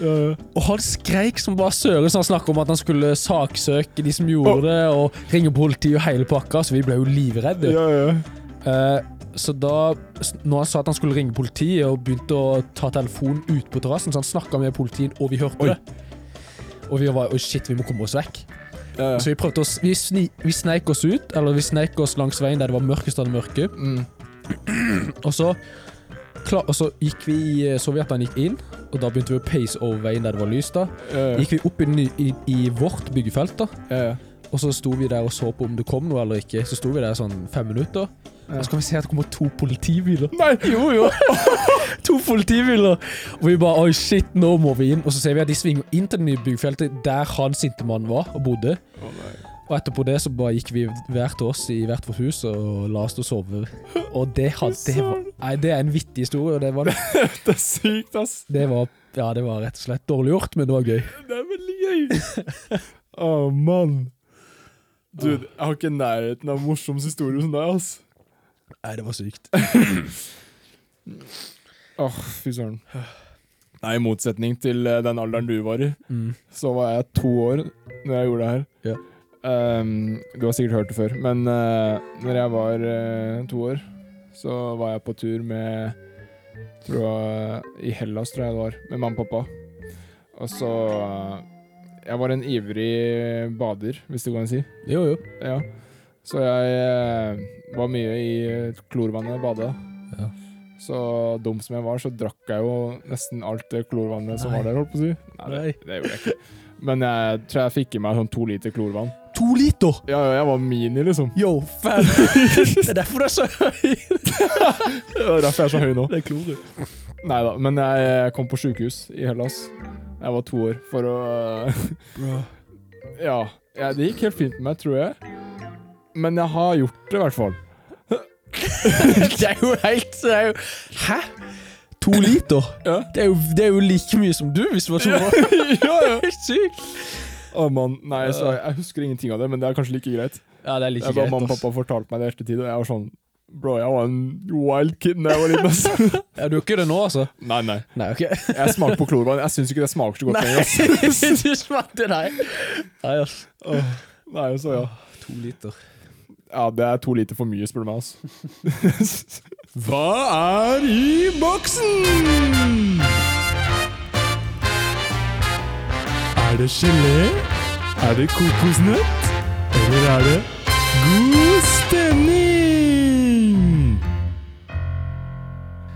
S3: Og han skreik som bare søren, så han snakka om at han skulle saksøke de som gjorde det, og ringe politiet og hele pakka, så vi ble jo livredde.
S2: Ja, ja.
S3: Eh, så da, s- når han sa at han skulle ringe politiet og begynte å ta telefonen ut på terrassen, så han snakka med politiet, og vi hørte
S2: Oi.
S3: det. Og vi var, oi shit, vi må komme oss vekk.
S2: ja, ja.
S3: Så vi prøvde oss, vi, sni, vi sneik oss ut, eller vi sneik oss langs veien der det var mørkest av det mørke.
S2: Mm.
S3: Og så, kla- og så gikk vi, så vi at han gikk inn, og da begynte vi å pace over veien der det var lyst da.
S2: Ja, ja.
S3: Gikk vi opp i, ny, i, i vårt byggefelt da,
S2: Ja, ja.
S3: og så sto vi der og så på om det kom noe eller ikke. Så sto vi der sånn fem minutter, og så kan vi se at det kommer to politibiler.
S2: Nei!
S3: Jo, jo. to politibiler. Og vi bare Oi, shit, nå må vi inn. Og så ser vi at de svinger inn til det nye byggfeltet der han sinte mannen var og bodde.
S2: Å, nei.
S3: Og etterpå det så bare gikk vi hver til oss i hvert vårt hus og la oss til å sove. Og det, hadde, det, var, nei, det er en vittig historie, og det var,
S2: Det er sykt, ass.
S3: det var Ja, det var rett og slett dårlig gjort, men det var gøy.
S2: Det er veldig gøy. Å, mann. Dude, jeg har ikke nærheten av morsomste historie som deg, ass.
S3: Nei, det var sykt.
S2: Åh, fy søren. Nei, i motsetning til eh, den alderen du var i, så var jeg to år når jeg gjorde det her.
S3: Ja.
S2: Ehm, du har sikkert hørt det før, men eh, når jeg var eh, to år, så var jeg på tur med tror jeg, I Hellas, tror jeg det var, med mamma og pappa. Og så eh, Jeg var en ivrig bader, hvis det går an å si.
S3: Jo, jo.
S2: Ja. Så jeg eh, var mye i eh, klorvannet og bada.
S3: Ja.
S2: Så dum som jeg var, så drakk jeg jo nesten alt det klorvannet som
S3: Nei.
S2: var der, holdt på å si. Nei, det, det gjorde jeg ikke. Men jeg tror jeg fikk i meg sånn to liter klorvann.
S3: To liter!
S2: Ja, ja, jeg var mini, liksom.
S3: Yo, fam! det er derfor det er så høy.
S2: Det er derfor jeg er så høy nå.
S3: Det er kloret.
S2: Nei da, men jeg eh, kom på sjukehus i Hellas. Jeg var to år for å Ja. ja, Det gikk helt fint med meg, tror jeg. Men jeg har gjort det, i hvert fall.
S3: Det er jo helt det er jo, Hæ? To liter?
S2: Ja.
S3: Det, er jo, det er jo like mye som du, hvis du var to år.
S2: ja, ja.
S3: Det er Sykt.
S2: Å mann, nei, så Jeg husker ingenting av det, men det er kanskje like greit.
S3: Ja, det er
S2: Det
S3: like
S2: er bare Mamma og
S3: ass.
S2: pappa fortalte meg det i ettertid, og jeg var sånn Bro, jeg var en wild kid da jeg var liten. ass.
S3: Ja, du er ikke det nå, altså?
S2: nei, nei.
S3: Nei, ok.
S2: Jeg smaker på klorvann. Jeg syns ikke det smaker så godt lenger. ass.
S3: du smakte nei. Nei, ass.
S2: Nei, så ja.
S3: To liter.
S2: ja, det er to liter for mye, spør du meg. Altså. Hva er i boksen?
S5: Er det gelé? Er det kokosnøtt? Eller er det god stemning?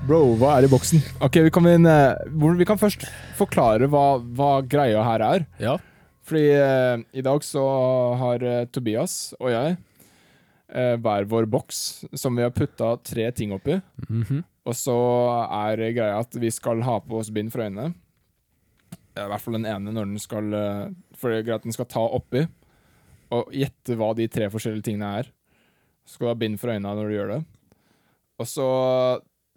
S2: Bro, hva er i boksen? Ok, Vi kan, inn, eh, hvor- vi kan først forklare hva, hva greia her er.
S3: Ja.
S2: Fordi eh, i dag så har eh, Tobias og jeg eh, hver vår boks som vi har putta tre ting oppi.
S3: Mhm.
S2: Og så er greia at vi skal ha på oss bind for øynene. Eh, I hvert fall den ene når den skal eh, For det er greit at den skal ta oppi og gjette hva de tre forskjellige tingene er. Så skal du ha bind for øynene når du gjør det. Og så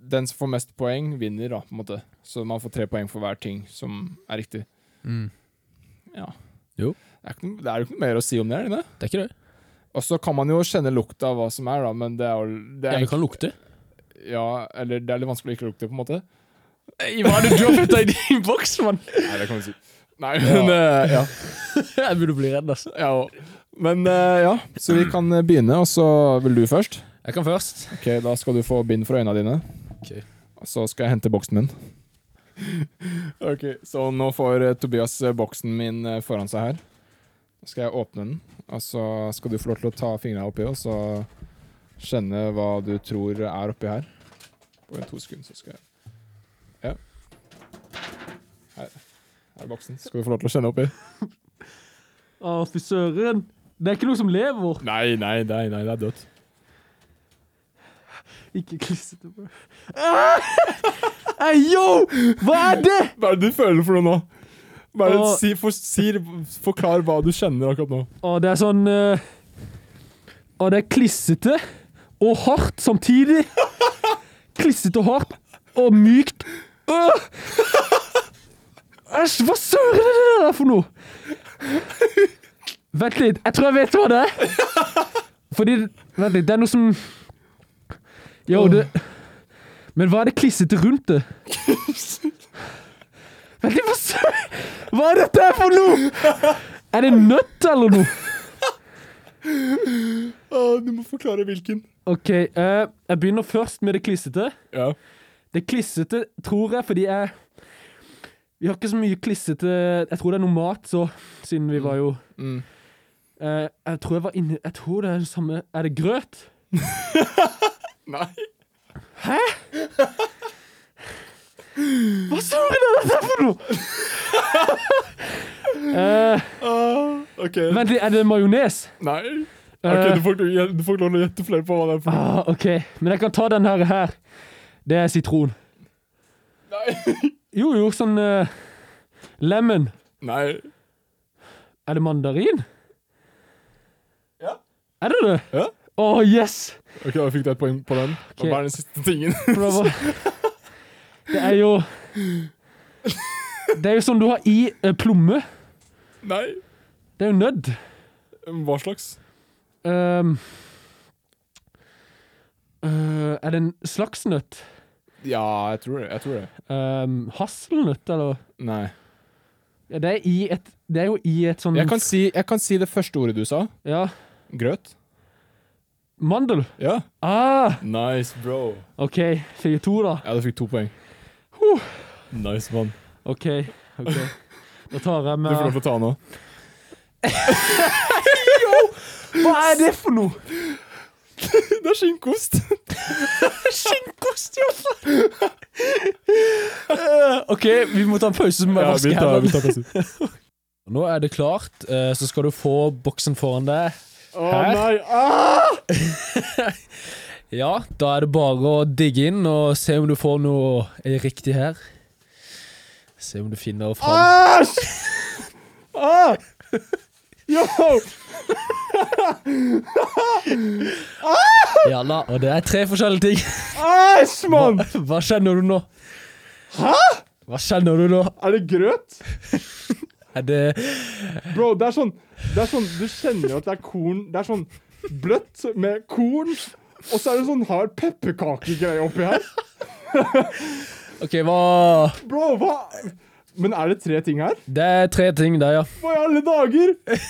S2: den som får mest poeng, vinner, da, på en måte. Så man får tre poeng for hver ting som er riktig. Ja.
S3: Mm. Jo.
S2: Det er, ikke, noe- det er jo ikke noe mer å si om det, er det det?
S3: Det er ikke det.
S2: Og så kan man jo kjenne lukta av hva som er, da, men det er jo det er,
S3: Ja, vi kan lukte.
S2: ikke- ja, eller det er litt vanskelig å ikke lukte, på en måte.
S3: Hva er det du har putta i din boks, mann?
S2: Nei, det kan du si. Nei, men eh, ja.
S3: Jeg burde bli redd, ass.
S2: ja. Men eh, ja, så vi kan eh, begynne, og så vil du først.
S3: Jeg kan først.
S2: Ok, Da skal du få bind for øynene dine.
S3: Ok.
S2: Og så skal jeg hente boksen min. ok, Så nå får eh, Tobias eh, boksen min eh, foran seg her. Nå skal jeg åpne den, og så skal du få lov til å ta fingrene oppi og så kjenne hva du tror er oppi her. På to sekunder, så skal jeg Ja. Her. her er boksen. Skal du få lov til å kjenne oppi?
S1: Å, fy søren. Det er ikke noe som lever.
S2: Nei, nei, nei, nei, det er dødt.
S1: Ikke klissete, bro. Hei, yo! Hva er det?
S2: Hva er det du føler for noe nå? Hva er det,
S1: Åh.
S2: si, for, si, forklar hva du kjenner akkurat nå.
S1: Å, det er sånn eh, Å, det er klissete og hardt samtidig. Klissete og hardt og mykt. Åh! Æsj, hva søren er det der for noe? Vent litt, jeg tror jeg vet hva det er. Fordi Vent litt, det er noe som Yo, det Men hva er det klissete rundt det? Vent litt, hva søren Hva er dette her for noe?! Er det nøtt eller noe?
S2: du må forklare hvilken.
S1: OK, eh, jeg begynner først med det klissete.
S2: Ja.
S1: Det klissete tror jeg fordi jeg Vi har ikke så mye klissete Jeg tror det er noe mat, så, siden vi var jo
S2: Mm.
S1: Eh, Jeg tror jeg var inne Jeg tror det er det samme Er det grøt?
S2: Nei.
S1: Hva søren er dette for noe?! Eh,
S2: Ah, OK.
S1: vent litt, er det majones?
S2: Nei. Ok,
S1: Eh.
S2: du får, ikke- du får ikke lov til å gjette flere på hva det er for noe.
S1: Ah, OK, men jeg kan ta den her. her. Det er sitron.
S2: Nei.
S1: Jo, jo, sånn eh, Lemon.
S2: Nei.
S1: Er det mandarin?
S2: Ja.
S1: Er det det?
S2: Ja.
S1: Å, yes!
S2: Ok, da fikk du et poeng på den.
S1: Ok.
S2: Hva er den siste tingen?
S1: Prøver. Det er jo Det er jo sånn du har i eh, plomme.
S2: Nei. Um,
S1: Det er jo nødd.
S2: Hva slags?
S1: Ehm, øh, er det en slags nøtt?
S2: Ja, jeg tror det. Jeg tror det.
S1: Ehm, hasselnøtt, eller?
S2: Nei.
S1: Ja, det, er i et, det er jo i et sånn
S2: Jeg kan si, jeg kan si det første ordet du sa.
S1: Ja.
S2: Grøt.
S1: Mandel.
S2: Ja.
S1: Ah,
S2: Nice, bro.
S1: OK, sier to, da.
S2: Ja, du fikk to poeng. Nice, mann.
S1: OK. ok. Da tar jeg
S2: Du får lov
S1: med
S2: til å ta nå.
S1: Hva er det for noe?!
S2: Det er skinnkost.
S1: Skinnkost, jo! Eh, OK, vi må ta en pause, så må jeg
S2: Ja, vi
S1: vaske
S2: tar, vi
S1: hendene.
S2: tar pause.
S3: Nå er det klart, eh, så skal du få boksen foran deg.
S2: Å
S3: Her.
S2: nei!
S3: Ja, da er det bare å digge inn og se om du får noe eh, riktig her. Se om du finner fram.
S2: Æsj! Ah! Yo!
S3: Ja da, og det er tre forskjellige ting.
S2: Æsj, mann!
S3: Hva kjenner du nå? Hæ? Hva kjenner du nå?
S2: Er det grøt?
S3: Er det
S2: Bro, det er sånn, det er sånn Du kjenner jo at det er korn Det er sånn bløtt med korn, og så er det sånn hard pepperkakegreie oppi her.
S3: OK, hva
S2: Bro, hva Men er det tre ting her?
S3: Det er tre ting der, ja.
S2: Hva i alle dager?
S3: Eh,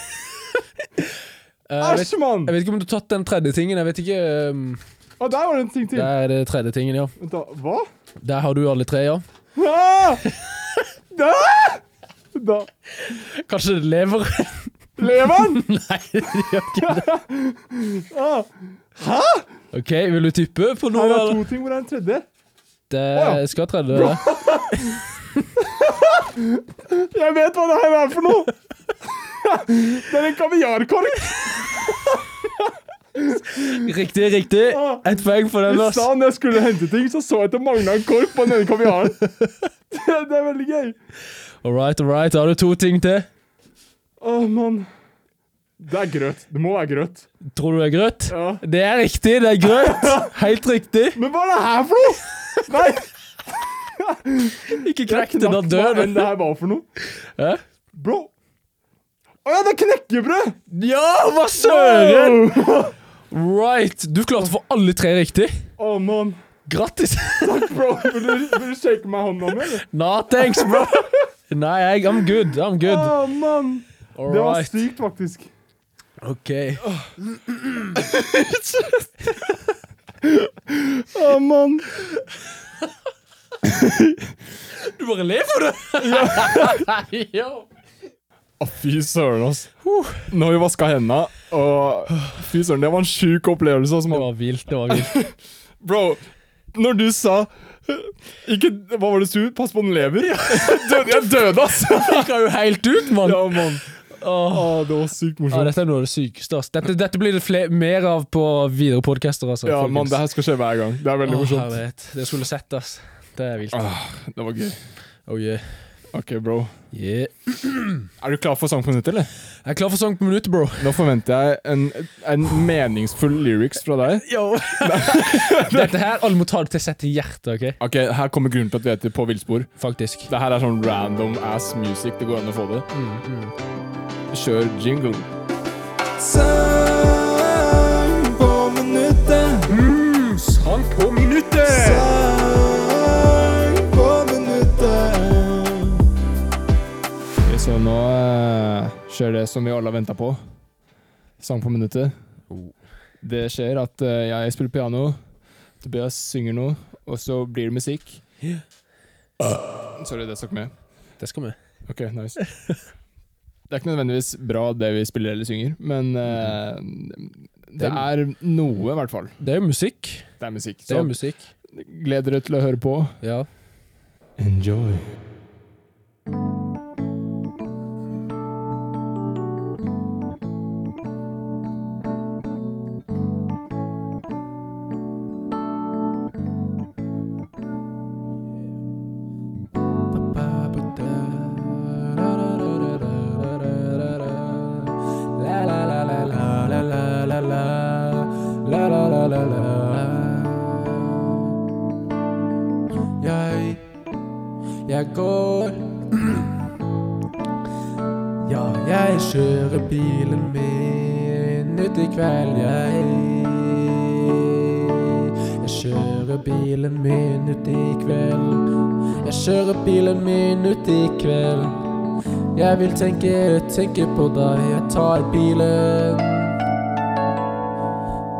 S3: Jeg vet,
S2: Æsj, mann!
S3: jeg vet ikke om du har tatt den tredje tingen. Jeg vet ikke ehm,
S2: Og der var det en ting til.
S3: Der er det tredje tingen, ja.
S2: Vent, da. Hva?
S3: Der har du alle tre, ja.
S2: Ah! Da! da.
S3: Kanskje det lever?
S2: Leveren!
S3: Nei, det gjør ikke det. OK, vil du tippe på noe?
S2: Her er
S3: eller?
S2: to ting, hvor er den tredje?
S3: Det skal tredje det.
S2: Jeg vet hva det her er for noe! Det er en kaviarkork!
S3: Riktig, riktig. Ett poeng for
S2: I
S3: den, ass.
S2: stad når jeg skulle hente ting, så så jeg at det mangla en kork på den ene kaviaren. Det, det er veldig gøy.
S3: All right, all right. Da har du to ting til.
S2: Å, mann. Det er grøt. Det må være grøt.
S3: Tror du det er grøt?
S2: Ja.
S3: Det er riktig, det er grøt. Helt riktig.
S2: Men hva er det her for noe?! Nei!
S3: Ikke
S2: Jeg
S3: knekk den, da
S2: knakk
S3: dør
S2: hva enn
S3: du.
S2: det her var for noe.
S3: Hæ?
S2: Bro. Å ja, det er knekkebrød!
S3: Ja, hva søren! Right. Du klarte å få alle tre riktig.
S2: Å, mann.
S3: Grattis.
S2: Bro, vil du, vil du shake meg i hånda mi, eller?
S3: Nah, thanks, bro. Nei, jeg, I'm good. I'm
S2: Å,
S3: good.
S2: mann.
S3: All
S2: Ah, Det var
S3: right.
S2: sykt, faktisk.
S3: OK.
S2: Å, mann.
S3: Du bare lever, du. Nei, jo.
S2: Å, fy søren, ass. Når vi vaska hendene og Fy søren, det var en sjuk opplevelse. ass,
S3: Det
S2: mann.
S3: var vilt. Det var vilt.
S2: Bro, når du sa Ikke Hva var det du sa? Pass på den lever? Døde, jeg døde, ass!
S3: Fikk jo helt ut, mann.
S2: Ja, mann.
S3: Åh.
S2: Å, det var sykt
S3: Ja,
S2: morsomt.
S3: dette er noe av det sykeste. ass. Dette, dette blir det fle- mer av på videre podcaster. Altså,
S2: Ja,
S3: folkens.
S2: mann, det her skal skje hver gang. Det er veldig
S3: Åh,
S2: morsomt.
S3: herlighet. Det skulle sett, ass. Det er vilt.
S2: Det var gøy.
S3: Oh, yeah.
S2: Ok, bro.
S3: Yeah.
S2: Er du klar for sang på nytt, eller?
S3: Jeg er klar for sang på minuttet, bro.
S2: Nå forventer jeg en, en meningsfull lyrics fra deg.
S3: Dette her, Alle må ta det til seg til hjertet, OK?
S2: Ok, Her kommer grunnen til at vi heter På villspor.
S3: Faktisk.
S2: Det her er sånn random ass music. Det går an å få det. Kjør jingle.
S5: Sang
S2: Nå eh, skjer det som vi alle har venta på. Sang på minuttet. Det skjer at eh, jeg spiller piano, Tobias synger noe, og så blir det musikk. Sorry, det stakk med.
S3: Det skal vi.
S2: Ok, nice. Det er ikke nødvendigvis bra det vi spiller eller synger, men eh, det er noe, i hvert fall.
S3: Det er jo musikk.
S2: Det er musikk.
S3: Det er
S2: Så
S3: jo musikk.
S2: gled dere til å høre på.
S3: Ja.
S2: Enjoy.
S3: Jeg Jeg går Ja, jeg kjører bilen min ut i kveld, jeg Jeg kjører bilen min ut i kveld Jeg kjører bilen min ut i kveld Jeg vil tenke, tenke på deg Jeg tar bilen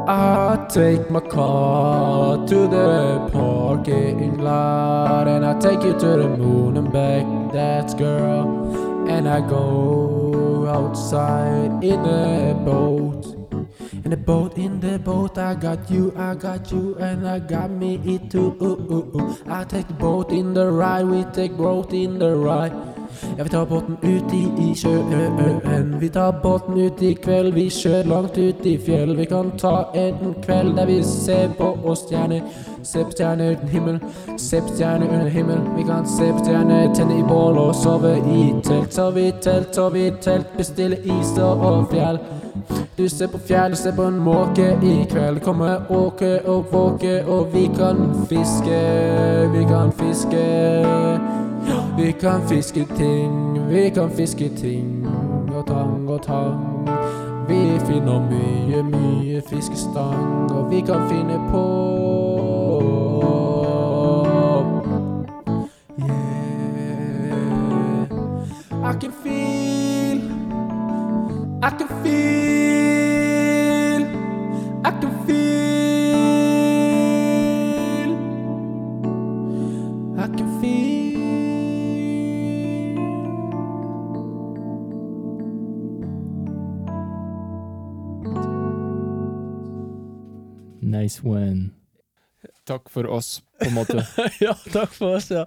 S3: I take my car to the parking lot and I take you to the moon and back, that girl. And I go outside in a boat. In a boat, in the boat, I got you, I got you, and I got me it too. Ooh, ooh, ooh. I take the boat in the ride, we take boat in the ride. Ja, vi tar båten ut i, i sjøen. Vi tar båten ut i kveld, vi kjører langt ut i fjell. Vi kan ta en kveld der vi ser på oss stjerner. Se på stjerner uten himmel, se på stjerner under himmel. Vi kan se på stjerner, tenne i bål og sove i telt. Så vi telt, så vi telt, bestille is og fjell. Du ser på fjell, du ser på en måke i kveld. Kommer åke og våke, og vi kan fiske, vi kan fiske. Vi kan fiske ting, vi kan fiske ting og tang og tang. Vi finner mye, mye fiskestang, og vi kan finne på Yeah. I can feel I can feel, I can feel, I can feel.
S2: Nice one. Takk for oss, på en måte.
S3: ja, takk for oss, ja.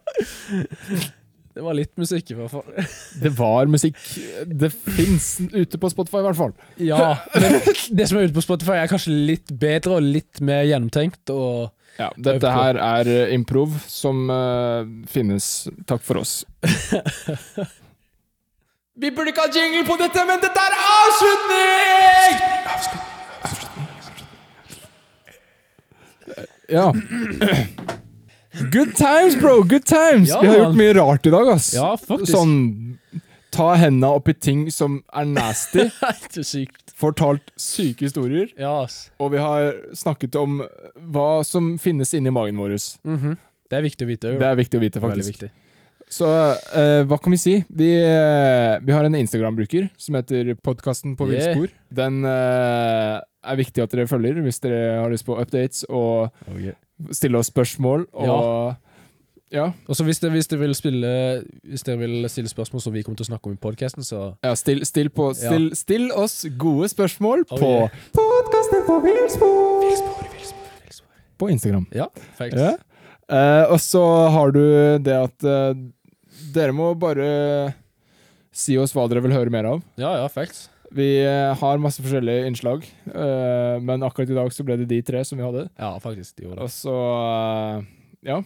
S3: Det var litt musikk i hvert fall.
S2: Det var musikk. Det fins ute på Spotify, i hvert fall.
S3: Ja, men det som er ute på Spotify er kanskje litt bedre og litt mer gjennomtenkt og
S2: Ja, dette her er eh, improv som eh, finnes. Takk for oss.
S5: Vi burde ikke ha jingle på dette, men dette er avslutning!
S2: Ja. Good times, bro! Good times!
S3: Ja,
S2: Vi har
S3: man.
S2: gjort mye rart i dag, ass.
S3: faktisk.
S2: sånn Ta henda oppi ting som er nasty.
S3: Helt sykt.
S2: Fortalt syke historier.
S3: Ja, ass.
S2: Og vi har snakket om hva som finnes inni magen vår.
S3: Mhm. Det er viktig å vite. jo.
S2: Det er viktig å vite,
S3: Veldig
S2: faktisk.
S3: viktig.
S2: Så eh, hva kan vi si? Vi, eh, vi har en Instagram-bruker som heter Podkasten på
S3: Yeah.
S2: villspor. Den eh, er viktig at dere følger hvis dere har lyst på updates og stille oss spørsmål. Og ja,
S3: Og så hvis dere, hvis, dere vil spille, hvis dere vil stille spørsmål som vi kommer til å snakke om i podkasten, så
S2: ja still, still, på, still, still oss gode spørsmål
S3: Oh,
S2: på
S3: yeah.
S2: Podkasten på villspor! På Instagram.
S3: Ja, facts.
S2: Ja. Eh, og så har du det at eh, dere må bare si oss hva dere vil høre mer av.
S3: Ja, ja, facts.
S2: Vi eh, har masse forskjellige innslag, eh, men akkurat i dag så ble det de tre som vi hadde.
S3: Ja, faktisk. De gjorde det.
S2: Og så eh, ja.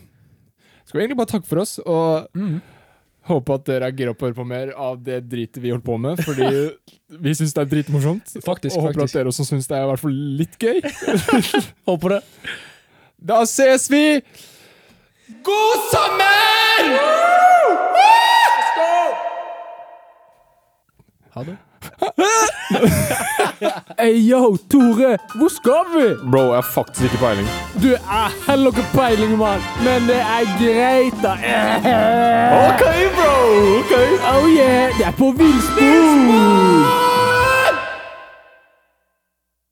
S2: Skal vi egentlig bare takke for oss, og
S3: Mm.
S2: håpe at dere er gira på å høre på mer av det dritet vi holdt på med, fordi vi syns det er dritmorsomt.
S3: Faktisk,
S2: og håper
S3: faktisk.
S2: at dere også syns det er i hvert fall litt gøy.
S3: Håper det.
S2: Da ses vi! God sommer!
S3: Ha det.
S1: Hey, yo, Tore, hvor skal vi?
S2: Bro, jeg har faktisk ikke peiling.
S1: Du er heller ikke peiling, mann, men det er greit, da.
S2: Okay, bro! Oh, okay. oh yeah, det er på villspor!